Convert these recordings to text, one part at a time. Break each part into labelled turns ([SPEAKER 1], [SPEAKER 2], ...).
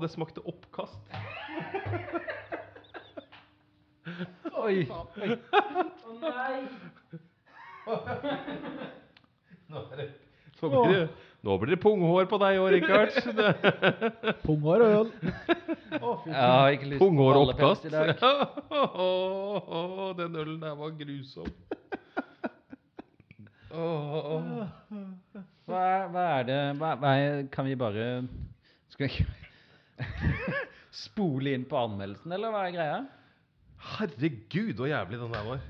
[SPEAKER 1] det smakte oppkast. Oi.
[SPEAKER 2] Å nei!
[SPEAKER 1] Nå, er det, nå, blir det, nå blir det punghår på deg òg, Richard. Det-
[SPEAKER 3] Punghår og øl. Å, fy
[SPEAKER 2] Jeg har ikke lyst på
[SPEAKER 1] Punghår og
[SPEAKER 2] ballepels
[SPEAKER 1] oppkast.
[SPEAKER 2] i dag.
[SPEAKER 1] Å, den ølen der var grusom. Å, å, å.
[SPEAKER 2] Hva er, hva er det hva, hva er, Kan vi bare Skal vi ikke spole inn på anmeldelsen, eller hva er greia?
[SPEAKER 1] Herregud, så jævlig den der var.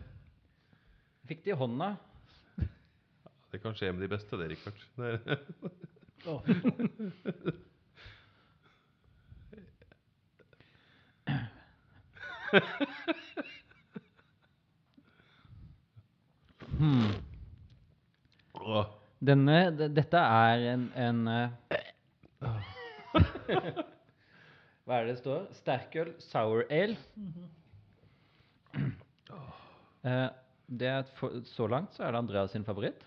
[SPEAKER 2] Fikk det i hånda.
[SPEAKER 1] Det kan skje med de beste, det, Richard. Det er-
[SPEAKER 3] Å, fy faen.
[SPEAKER 1] Å,
[SPEAKER 2] Denne, de- dette er en, en eh, Hva er det det står? Sterkøl sour ale. Mm-hmm. Eh, det er, et for, så langt så er det Andreas sin favoritt.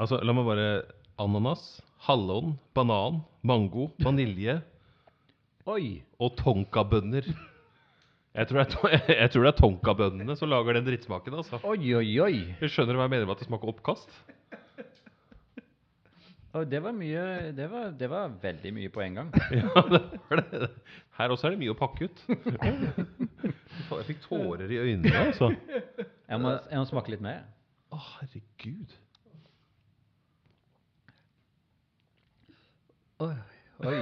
[SPEAKER 1] Altså, la meg bare Ananas, hallon, banan, mango, vanilje
[SPEAKER 2] Oi!
[SPEAKER 1] og tonkabønner. Jeg tror det er, to- jeg tror det er tonkabønnene som lager den drittsmaken, altså.
[SPEAKER 2] Oi, oi, oi!
[SPEAKER 1] Jeg skjønner hva jeg mener med at det smaker oppkast.
[SPEAKER 2] Å, det var mye det var, det var veldig mye på en gang.
[SPEAKER 1] Ja, det er det. Her også er det mye å pakke ut. Fy faen, Jeg fikk tårer i øynene, altså.
[SPEAKER 2] Jeg må, jeg må smake litt mer.
[SPEAKER 1] Å, herregud.
[SPEAKER 2] Oi. oi.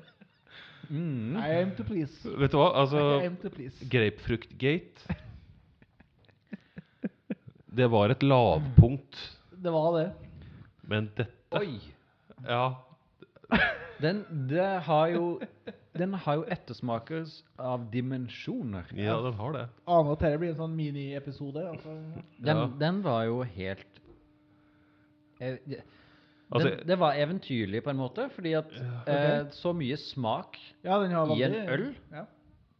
[SPEAKER 2] Mm.
[SPEAKER 3] I am to please.
[SPEAKER 1] Vet du hva,
[SPEAKER 3] I
[SPEAKER 1] altså
[SPEAKER 3] am to please.
[SPEAKER 1] Grapefruktgate Det var et lavpunkt,
[SPEAKER 3] Det var det.
[SPEAKER 1] men dette
[SPEAKER 2] Oi!
[SPEAKER 1] Ja.
[SPEAKER 2] Den, det har jo, den har jo ettersmaker av dimensjoner.
[SPEAKER 1] Ja, den har det.
[SPEAKER 3] Aner at dette blir en sånn miniepisode. Altså.
[SPEAKER 2] Den,
[SPEAKER 1] Ja.
[SPEAKER 2] den var jo helt Eh, det- den,
[SPEAKER 1] Altså-
[SPEAKER 2] Det var eventyrlig på en måte, fordi at eh, så mye smak
[SPEAKER 3] Ja, den har
[SPEAKER 2] I en
[SPEAKER 3] veldig-
[SPEAKER 2] øl?
[SPEAKER 3] Ja.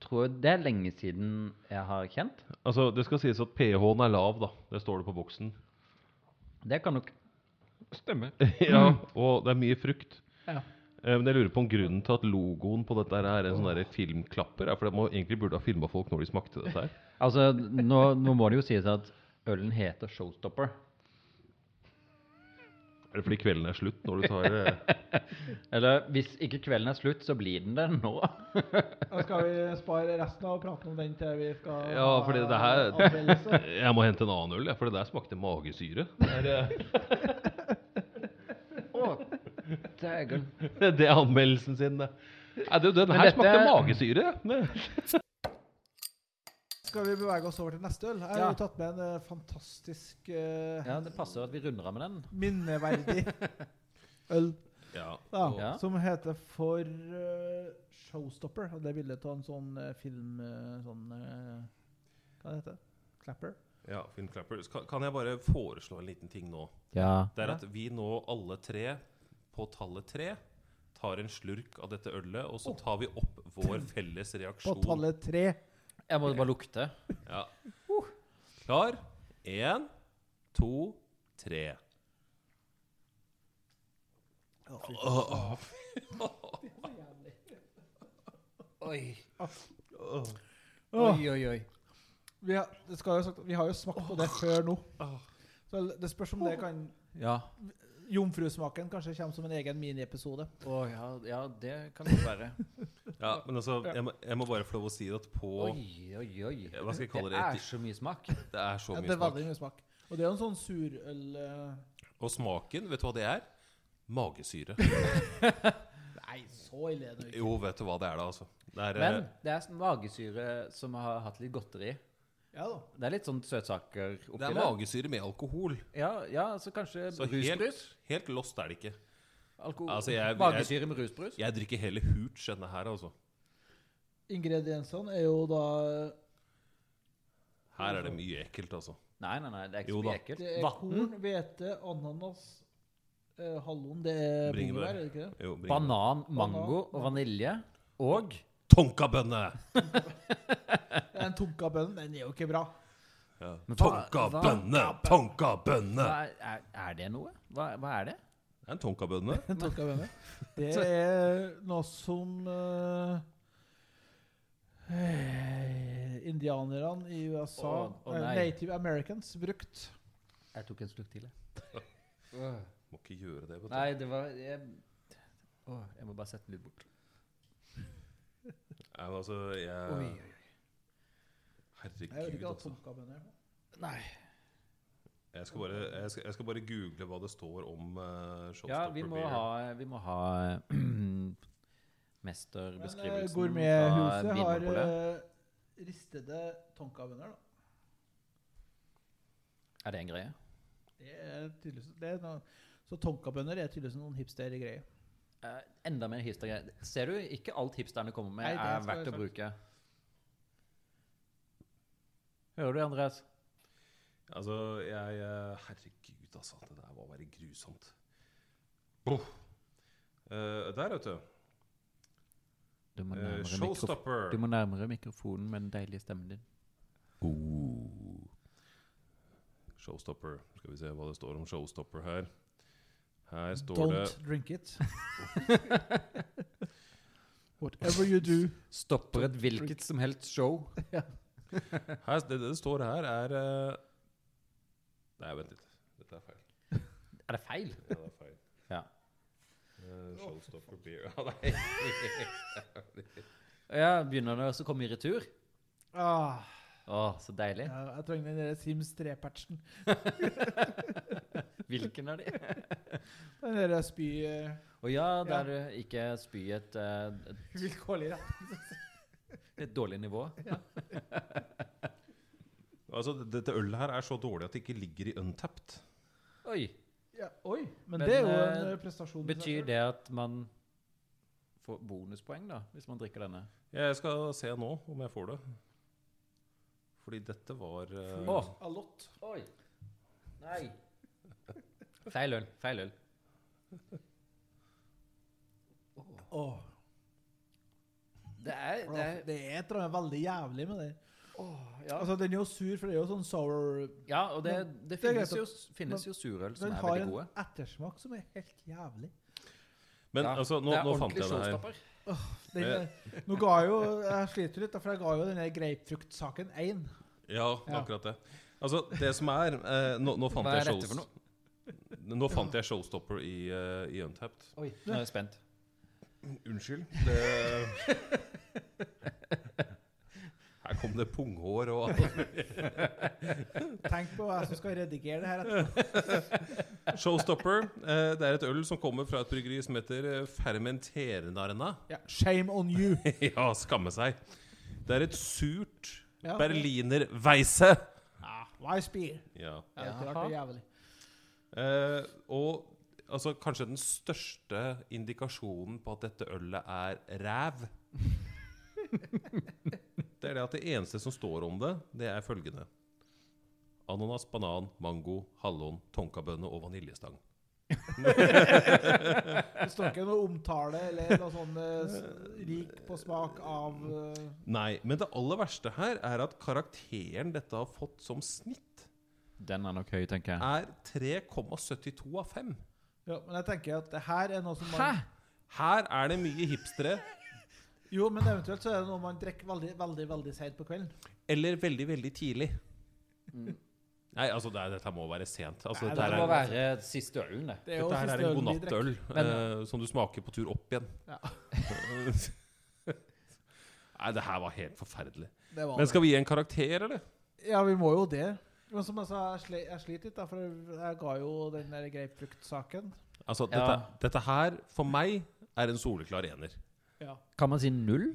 [SPEAKER 2] tror jeg Det er lenge siden jeg har kjent.
[SPEAKER 1] Altså, Det skal sies at pH-en er lav, da. Det står det på boksen.
[SPEAKER 2] Det kan nok stemme.
[SPEAKER 1] ja, Og det er mye frukt.
[SPEAKER 3] Ja.
[SPEAKER 1] Eh, Men jeg lurer på om grunnen til at logoen på dette her er en sånn der filmklapper. Er fordi man egentlig burde ha filma folk når de smakte dette her.
[SPEAKER 2] Altså, nå, nå må det jo sies at ølen heter Showstopper.
[SPEAKER 1] Eller fordi kvelden er slutt når du tar eh,
[SPEAKER 2] Eller hvis ikke kvelden er slutt, så blir den det nå.
[SPEAKER 3] Da skal vi spare resten av praten om den til vi skal
[SPEAKER 1] Ja, fordi det her-
[SPEAKER 3] anmeldelse.
[SPEAKER 1] Jeg må hente en annen øl, jeg, for det der smakte magesyre. Det er, eh,
[SPEAKER 2] Å, dægen.
[SPEAKER 1] eh, det er anmeldelsen sin, det. Nei, du, den
[SPEAKER 2] Men
[SPEAKER 1] her
[SPEAKER 2] dette-
[SPEAKER 1] smakte magesyre. Det.
[SPEAKER 3] Skal vi bevege oss over til neste øl? Jeg har
[SPEAKER 2] Ja.
[SPEAKER 3] jo tatt med en eh, fantastisk eh,
[SPEAKER 2] Ja, det passer at vi runder av med den.
[SPEAKER 3] minneverdig øl
[SPEAKER 1] Ja.
[SPEAKER 3] da,
[SPEAKER 2] Ja.
[SPEAKER 3] som heter for eh, Showstopper. Og det er bilde av en sånn eh, film eh, Sånn eh, Hva heter det? Clapper?
[SPEAKER 4] Ja, Finn Clapper. Skal- Kan jeg bare foreslå en liten ting nå?
[SPEAKER 2] Ja.
[SPEAKER 4] Det er at vi nå alle tre, på tallet tre, tar en slurk av dette ølet, og
[SPEAKER 1] Oh.
[SPEAKER 4] så tar vi opp vår felles
[SPEAKER 3] På
[SPEAKER 4] reaksjon.
[SPEAKER 3] tallet tre.
[SPEAKER 2] Jeg må bare lukte.
[SPEAKER 4] Ja.
[SPEAKER 1] Uh.
[SPEAKER 4] Klar? Én, to, tre.
[SPEAKER 2] Oi,
[SPEAKER 3] Åh,
[SPEAKER 2] oi, oi.
[SPEAKER 3] vi, har, det skal jo sagt, vi har jo smakt på det før nå. Så det spørs om det kan
[SPEAKER 2] Ja.
[SPEAKER 3] Jomfrusmaken kanskje kommer som en egen miniepisode.
[SPEAKER 2] Å ja, ja, det kan det være.
[SPEAKER 4] Ja, men altså, jeg må, jeg må bare få lov å si at på
[SPEAKER 2] Oi, oi, oi.
[SPEAKER 4] Hva skal jeg kalle det?
[SPEAKER 2] Det er så mye smak.
[SPEAKER 4] Det er så
[SPEAKER 3] Ja,
[SPEAKER 4] mye
[SPEAKER 3] det er
[SPEAKER 4] smak.
[SPEAKER 3] veldig mye smak. Og det er jo en sånn surøl eh,
[SPEAKER 4] Og smaken, vet du hva det er? Magesyre.
[SPEAKER 3] Nei, så ille er det jo ikke.
[SPEAKER 4] Jo, vet du hva det er da, altså. Det er,
[SPEAKER 2] Men
[SPEAKER 4] eh,
[SPEAKER 2] det er sånn magesyre som har hatt litt godteri.
[SPEAKER 3] Ja da.
[SPEAKER 2] Det er litt sånn søtsaker oppi
[SPEAKER 4] det er magesyre med alkohol.
[SPEAKER 2] Ja, ja, så kanskje
[SPEAKER 4] Så
[SPEAKER 2] rusbrus?
[SPEAKER 4] helt, helt lost er det ikke.
[SPEAKER 2] Alkohol.
[SPEAKER 4] Altså, jeg- jeg-
[SPEAKER 2] magesyre med rusbrus?
[SPEAKER 4] Jeg drikker heller hooch enn det her, altså.
[SPEAKER 3] Ingrediensene er jo da
[SPEAKER 4] Her er det mye ekkelt, altså.
[SPEAKER 2] Nei, nei, nei, det er ikke
[SPEAKER 4] Jo
[SPEAKER 2] så mye
[SPEAKER 4] da.
[SPEAKER 2] ekkelt. Mm.
[SPEAKER 3] Det er
[SPEAKER 2] Vann,
[SPEAKER 3] korn, hvete, ananas, eh, hallon Det er
[SPEAKER 4] Bringebær.
[SPEAKER 3] bringebær, er det ikke det?
[SPEAKER 4] Jo, bring-
[SPEAKER 2] banan, mango og vanilje. Og
[SPEAKER 4] Tonkabønne!
[SPEAKER 3] Det er en tonkabønn. Den er jo ikke bra.
[SPEAKER 4] Ja.
[SPEAKER 2] Men hva-
[SPEAKER 4] Tonkabønne! Tonkabønne!
[SPEAKER 2] hva er, er, er det noe? Hva, hva er det?
[SPEAKER 4] er en tonkabønne.
[SPEAKER 3] Takk av henne. Det er noe som eh, eh, indianerne i USA,
[SPEAKER 2] Å, å
[SPEAKER 3] eh,
[SPEAKER 2] nei.
[SPEAKER 3] native americans, brukt.
[SPEAKER 2] Jeg tok en slurk til, jeg.
[SPEAKER 4] Må ikke gjøre det. vet du.
[SPEAKER 2] Nei, det var jeg, Åh, jeg må bare sette den litt bort.
[SPEAKER 4] Nei, men altså,
[SPEAKER 2] Oi,
[SPEAKER 4] jeg
[SPEAKER 2] oi.
[SPEAKER 3] Jeg vet
[SPEAKER 4] Herregud,
[SPEAKER 3] ikke hva
[SPEAKER 4] altså.
[SPEAKER 3] tomkabønner er.
[SPEAKER 2] Nei.
[SPEAKER 4] Jeg skal, bare, jeg, skal, jeg skal bare google hva det står om uh, Showstopper
[SPEAKER 2] Ja, vi må
[SPEAKER 4] Beer.
[SPEAKER 2] ha, vi må ha eh,
[SPEAKER 3] Men eh,
[SPEAKER 2] mesterbeskrivelsen fra
[SPEAKER 3] gourmethuset har
[SPEAKER 2] Vinmonopolet.
[SPEAKER 3] eh, ristede tomkabønner, da.
[SPEAKER 2] Er det en greie?
[SPEAKER 3] Det er tydeligvis det er noe, Så tonkabønner er tydeligvis noen hipstergreier.
[SPEAKER 2] Eh, enda mer hipstergreier. Ser du, ikke alt hipsterne kommer med,
[SPEAKER 3] Nei, det
[SPEAKER 2] er
[SPEAKER 3] skal jeg
[SPEAKER 2] verdt å
[SPEAKER 3] sagt.
[SPEAKER 2] bruke. Hører du, Andreas?
[SPEAKER 4] Altså, jeg eh, Herregud, altså. Det der var bare grusomt. Eh, der, vet du.
[SPEAKER 2] Du må,
[SPEAKER 4] Eh,
[SPEAKER 2] nærmere mikrof-
[SPEAKER 4] showstopper.
[SPEAKER 2] du må nærmere mikrofonen med den deilige stemmen din.
[SPEAKER 4] Showstopper. Skal vi se hva det står om Showstopper her. Her står
[SPEAKER 3] Don't
[SPEAKER 4] det
[SPEAKER 3] drink it. Whatever you do.
[SPEAKER 2] Stopper et hvilket som helst show.
[SPEAKER 4] her, det, det står her, er eh, Nei, vent litt. Dette er feil.
[SPEAKER 2] Er det feil?
[SPEAKER 4] Ja, det er feil.
[SPEAKER 2] Ja.
[SPEAKER 4] Eh, showstopper beer Ja, nei.
[SPEAKER 2] Ja, Begynner det også å komme i retur?
[SPEAKER 3] Ah,
[SPEAKER 2] Å, så deilig.
[SPEAKER 3] ja, jeg trenger den der Sims 3-patchen.
[SPEAKER 2] Hvilken av de?
[SPEAKER 3] Den der spy... eh,
[SPEAKER 2] Å ja,
[SPEAKER 3] Ja.
[SPEAKER 2] der du ikke spyr et, eh,
[SPEAKER 3] Vilkårlig rett.
[SPEAKER 2] et, et dårlig nivå.
[SPEAKER 4] Altså, dette ølet her er så dårlig at det ikke ligger i Untapped.
[SPEAKER 2] Oi.
[SPEAKER 3] Ja, oi, men,
[SPEAKER 2] Men,
[SPEAKER 3] det er jo
[SPEAKER 2] eh,
[SPEAKER 3] en eh, prestasjon. i seg
[SPEAKER 2] Betyr
[SPEAKER 3] selv.
[SPEAKER 2] det at man får bonuspoeng, da, hvis man drikker denne?
[SPEAKER 4] Jeg skal se nå om jeg får det. Fordi dette var eh,
[SPEAKER 2] Å,
[SPEAKER 3] A lot.
[SPEAKER 2] Oi. Nei. Feil øl. Feil øl.
[SPEAKER 3] Åh,
[SPEAKER 2] Det er,
[SPEAKER 3] det er et eller annet veldig jævlig med det.
[SPEAKER 2] ja.
[SPEAKER 3] Altså, den er jo sur, for det er jo sånn sour
[SPEAKER 2] ja, og det, det
[SPEAKER 3] det er greit
[SPEAKER 2] finnes, jo, finnes jo surøl som
[SPEAKER 3] Den
[SPEAKER 2] er
[SPEAKER 3] har
[SPEAKER 2] veldig
[SPEAKER 3] en
[SPEAKER 2] gode.
[SPEAKER 3] ettersmak som er helt jævlig.
[SPEAKER 4] Men
[SPEAKER 2] Ja,
[SPEAKER 4] altså, nå,
[SPEAKER 2] det er
[SPEAKER 4] nå fant
[SPEAKER 2] ordentlig
[SPEAKER 4] jeg det her.
[SPEAKER 2] showstopper.
[SPEAKER 3] Den, eh, nå ga jeg jo Jeg sliter litt, da, for jeg ga jo den der grapefruktsaken én.
[SPEAKER 4] Ja,
[SPEAKER 3] Ja.
[SPEAKER 4] akkurat det. Altså, det som er eh, Nå, nå fant
[SPEAKER 2] Hva
[SPEAKER 4] jeg
[SPEAKER 2] er dette for
[SPEAKER 4] shows... Nå fant jeg Showstopper i, uh, i Untapped.
[SPEAKER 2] Oi, nå er jeg spent.
[SPEAKER 4] Unnskyld. Det Her kom det punghår og alt.
[SPEAKER 3] Tenk på hva jeg som skal redigere det her. etterpå.
[SPEAKER 4] Showstopper eh, det er et øl som kommer fra et bryggeri som heter eh, Fermenternarna.
[SPEAKER 3] Ja, shame on you.
[SPEAKER 4] ja, skamme seg. Det er et surt
[SPEAKER 3] Ja.
[SPEAKER 4] berlinerweisse.
[SPEAKER 3] Ja, Wise beer.
[SPEAKER 4] Ja.
[SPEAKER 3] Ja, det er klart det er jævlig.
[SPEAKER 4] Eh, og altså, kanskje den største indikasjonen på at dette ølet er ræv Det er det at det eneste som står om det, det er følgende. Ananas, banan, mango, hallon, tonkabønne og vaniljestang.
[SPEAKER 3] Det står ikke noe omtale eller noe sånn eh, s- rik på smak av eh,
[SPEAKER 4] Nei, men det aller verste her er at karakteren dette har fått som snitt,
[SPEAKER 2] Den er nok høy, tenker jeg.
[SPEAKER 4] er 3,72 av 5.
[SPEAKER 3] Ja, men jeg tenker at det her er noe som man
[SPEAKER 2] Hæ?
[SPEAKER 4] Her er det mye hipstere
[SPEAKER 3] Jo, men eventuelt så er det noe man drikker veldig, veldig veldig seint på kvelden.
[SPEAKER 4] Eller veldig, veldig tidlig. Nei, altså, det, er- dette må være sent. Altså,
[SPEAKER 3] Nei,
[SPEAKER 4] dette
[SPEAKER 2] Mm.
[SPEAKER 4] her
[SPEAKER 2] Det må
[SPEAKER 4] er,
[SPEAKER 2] være eh, siste ølen, det.
[SPEAKER 3] Det
[SPEAKER 4] dette her er en
[SPEAKER 3] ølen vi
[SPEAKER 4] godnattøl
[SPEAKER 2] Men-
[SPEAKER 4] eh, som du smaker på tur opp igjen.
[SPEAKER 3] Ja.
[SPEAKER 4] Nei, det her var helt forferdelig.
[SPEAKER 3] drikker. Det var
[SPEAKER 4] Men skal vi gi en karakter, eller?
[SPEAKER 3] det. Ja, vi må jo det. Men som jeg sa, jeg sli- jeg sliter litt, da, for jeg ga jo den der grapefruktsaken.
[SPEAKER 4] Altså,
[SPEAKER 2] Ja.
[SPEAKER 4] dette, dette her, for meg, er en soleklar ener.
[SPEAKER 3] Ja.
[SPEAKER 2] Kan man si null?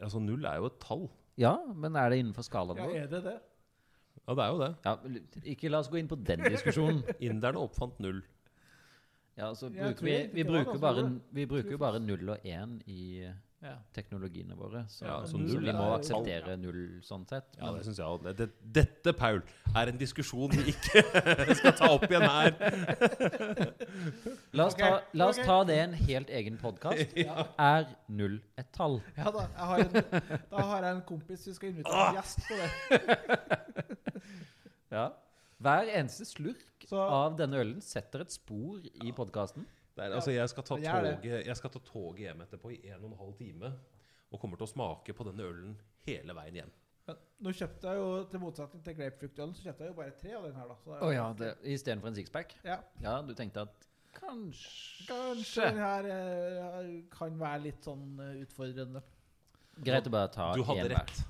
[SPEAKER 4] Altså, null er jo et tall.
[SPEAKER 2] Ja, men er det innenfor skalaen
[SPEAKER 3] ja,
[SPEAKER 2] vår?
[SPEAKER 3] er det det?
[SPEAKER 4] Ja, det er jo det.
[SPEAKER 2] Ja, ikke la oss gå inn på den diskusjonen.
[SPEAKER 4] Inderne oppfant null.
[SPEAKER 2] Ja, altså,
[SPEAKER 3] Jeg
[SPEAKER 2] bruker
[SPEAKER 3] tror
[SPEAKER 2] vi,
[SPEAKER 3] egentlig
[SPEAKER 2] vi,
[SPEAKER 3] det var
[SPEAKER 2] bruker
[SPEAKER 3] ganske
[SPEAKER 2] bare,
[SPEAKER 3] bra.
[SPEAKER 2] vi bruker jo
[SPEAKER 3] Tror
[SPEAKER 2] bare null og én i eh,
[SPEAKER 3] Ja.
[SPEAKER 2] teknologiene våre, så,
[SPEAKER 4] Ja, så
[SPEAKER 2] så
[SPEAKER 4] null
[SPEAKER 2] vi
[SPEAKER 4] er
[SPEAKER 2] må
[SPEAKER 4] jo-
[SPEAKER 2] akseptere null sånn sett.
[SPEAKER 4] Ja,
[SPEAKER 2] Men
[SPEAKER 4] det synes jeg også. det, det, Dette, Paul, er en diskusjon vi ikke skal ta opp igjen her.
[SPEAKER 2] la oss, ta,
[SPEAKER 3] Ok,
[SPEAKER 2] la oss
[SPEAKER 3] ok.
[SPEAKER 2] ta det i en helt egen podkast.
[SPEAKER 3] Ja.
[SPEAKER 2] Er null et tall?
[SPEAKER 3] ja da. Jeg har en, da har jeg en kompis vi skal invitere som gjest på det.
[SPEAKER 2] Ja. Hver eneste slurk
[SPEAKER 3] Så
[SPEAKER 4] Ah.
[SPEAKER 2] av denne ølen setter et spor i podkasten.
[SPEAKER 4] Det er, altså, jeg, skal ta
[SPEAKER 3] Jeg er det.
[SPEAKER 4] toget, jeg skal ta toget hjem etterpå i en og en halv time og kommer til å smake på denne ølen hele veien hjem.
[SPEAKER 3] men, nå kjøpte jeg jo, til motsetning til grapefruktølen, så kjøpte jeg jo bare tre av den her, da. Så det er-
[SPEAKER 2] Istedenfor en sixpack.
[SPEAKER 3] Ja.
[SPEAKER 2] Ja, du tenkte at kanskje
[SPEAKER 3] Kanskje den her eh, kan være litt sånn eh, utfordrende.
[SPEAKER 2] Greit å bare ta
[SPEAKER 4] Du hadde
[SPEAKER 2] en hver.
[SPEAKER 4] rett.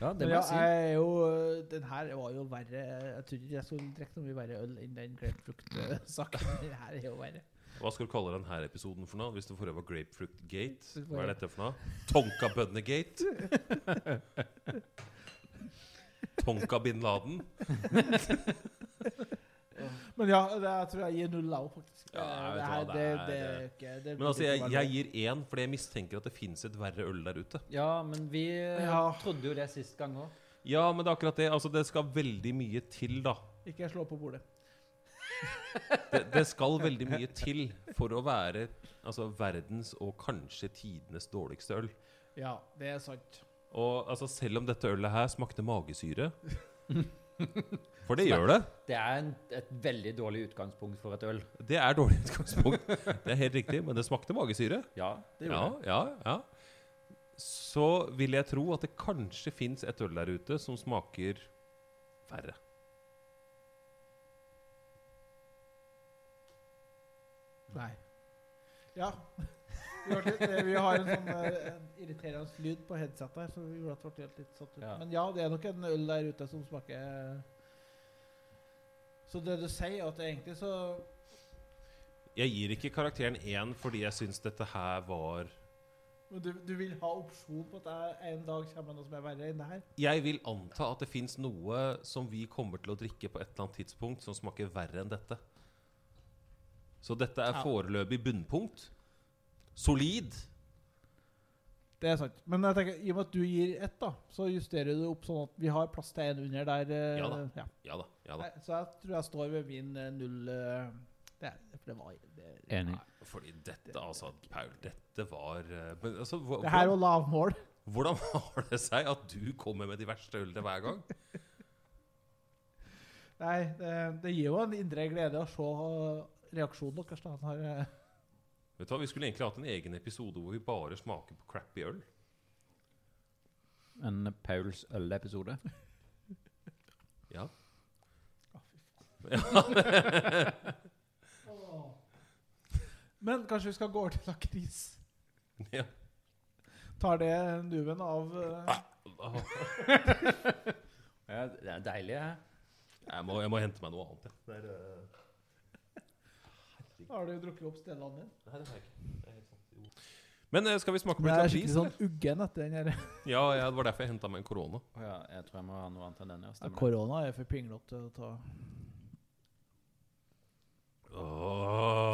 [SPEAKER 2] Ja,
[SPEAKER 3] Men
[SPEAKER 2] det må
[SPEAKER 3] ja,
[SPEAKER 2] jeg si.
[SPEAKER 3] jeg er jo, eh, den her var jo verre Jeg tror ikke jeg skulle drikke noe mye verre øl enn den grapefruktsaken. Den her er jo verre.
[SPEAKER 4] Hva skal du kalle den her episoden for noe? Hvis det forrige var Grapefruit Gate, hva er dette for noe? Tonka Bønne Gate? Tonka Bin Laden?
[SPEAKER 3] Men ja, det jeg tror jeg gir null av, faktisk.
[SPEAKER 4] Ja, jeg
[SPEAKER 3] det,
[SPEAKER 4] vet hva,
[SPEAKER 3] her, det,
[SPEAKER 4] det er-
[SPEAKER 3] det er ikke det
[SPEAKER 4] Men altså,
[SPEAKER 3] burde
[SPEAKER 4] jeg,
[SPEAKER 3] ikke være
[SPEAKER 4] jeg
[SPEAKER 3] lov.
[SPEAKER 4] gir én, fordi jeg mistenker at det fins et verre øl der ute.
[SPEAKER 2] Ja, men vi eh,
[SPEAKER 3] Ja.
[SPEAKER 2] trodde jo det sist gang òg.
[SPEAKER 4] Ja, men det er akkurat det. Altså, det skal veldig mye til, da.
[SPEAKER 3] Ikke slå på bordet.
[SPEAKER 4] Det, det skal veldig mye til for å være altså, verdens og kanskje tidenes dårligste øl.
[SPEAKER 3] Ja, det er sant.
[SPEAKER 4] Og altså, selv om dette ølet her smakte magesyre For det gjør det.
[SPEAKER 2] Det er en, et veldig dårlig utgangspunkt for et øl.
[SPEAKER 4] Det er dårlig utgangspunkt. Det er helt riktig, men det smakte magesyre.
[SPEAKER 2] Ja, det
[SPEAKER 4] Ja,
[SPEAKER 2] gjorde det.
[SPEAKER 4] ja, ja. Så vil jeg tro at det kanskje fins et øl der ute som smaker verre.
[SPEAKER 3] Nei. Ja. Vi har, litt, vi har en sånn eh, en irriterende lyd på headsetet her, så vi gjorde at det ble helt litt satt ut.
[SPEAKER 2] Ja.
[SPEAKER 3] Men ja, det er nok en øl der ute som smaker eh, Så det du sier, at egentlig så
[SPEAKER 4] Jeg gir ikke karakteren én fordi jeg syns dette her var
[SPEAKER 3] Men du, du vil ha opsjon på at jeg en dag kommer med noe som er verre enn det her?
[SPEAKER 4] Jeg vil anta at det fins noe som vi kommer til å drikke på et eller annet tidspunkt, som smaker verre enn dette. Så dette er
[SPEAKER 3] Ja.
[SPEAKER 4] foreløpig bunnpunkt. Solid.
[SPEAKER 3] Det er sant. Men jeg tenker, i og med at du gir ett, da, så justerer du opp sånn at vi har plass til en under der. eh,
[SPEAKER 4] Ja da.
[SPEAKER 3] Ja.
[SPEAKER 4] Ja da. ja da.
[SPEAKER 3] Nei, Så jeg tror jeg står ved min eh, null eh, det, er- for det var det,
[SPEAKER 2] Enig.
[SPEAKER 4] Fordi dette, altså, Paul, dette var eh, men, altså, hva-
[SPEAKER 3] det her var lavmål.
[SPEAKER 4] Hvordan har det seg at du kommer med de verste ølene hver gang?
[SPEAKER 3] Nei, det, det gir jo en indre glede å se reaksjonen deres. da. Han har, eh,
[SPEAKER 4] Vet du hva, Vi skulle egentlig hatt en egen episode hvor vi bare smaker på crappy øl.
[SPEAKER 2] En Pauls øl-episode.
[SPEAKER 4] Ja.
[SPEAKER 3] eh, Men kanskje vi skal gå over til lakris?
[SPEAKER 4] ja.
[SPEAKER 3] Tar det nuven av eh,
[SPEAKER 4] Åh,
[SPEAKER 2] Ja, det er deilig, hæ?
[SPEAKER 4] Jeg må, jeg må hente meg noe annet, jeg. Det er, eh,
[SPEAKER 3] Har du drukket opp stellene dine?
[SPEAKER 4] Nei, det har jeg ikke. Det er helt sant. Jo. Men eh, skal vi smake på
[SPEAKER 3] Jeg
[SPEAKER 4] litt
[SPEAKER 3] er
[SPEAKER 4] lakris?
[SPEAKER 3] skikkelig sånn uggen etter den her.
[SPEAKER 4] Ja, ja, det var derfor jeg henta meg en korona.
[SPEAKER 2] Å ja, jeg tror jeg må ha noe annet enn den. Ja,
[SPEAKER 3] Ja,
[SPEAKER 2] stemmer det.
[SPEAKER 3] korona er for pinglete å ta.
[SPEAKER 4] Åh,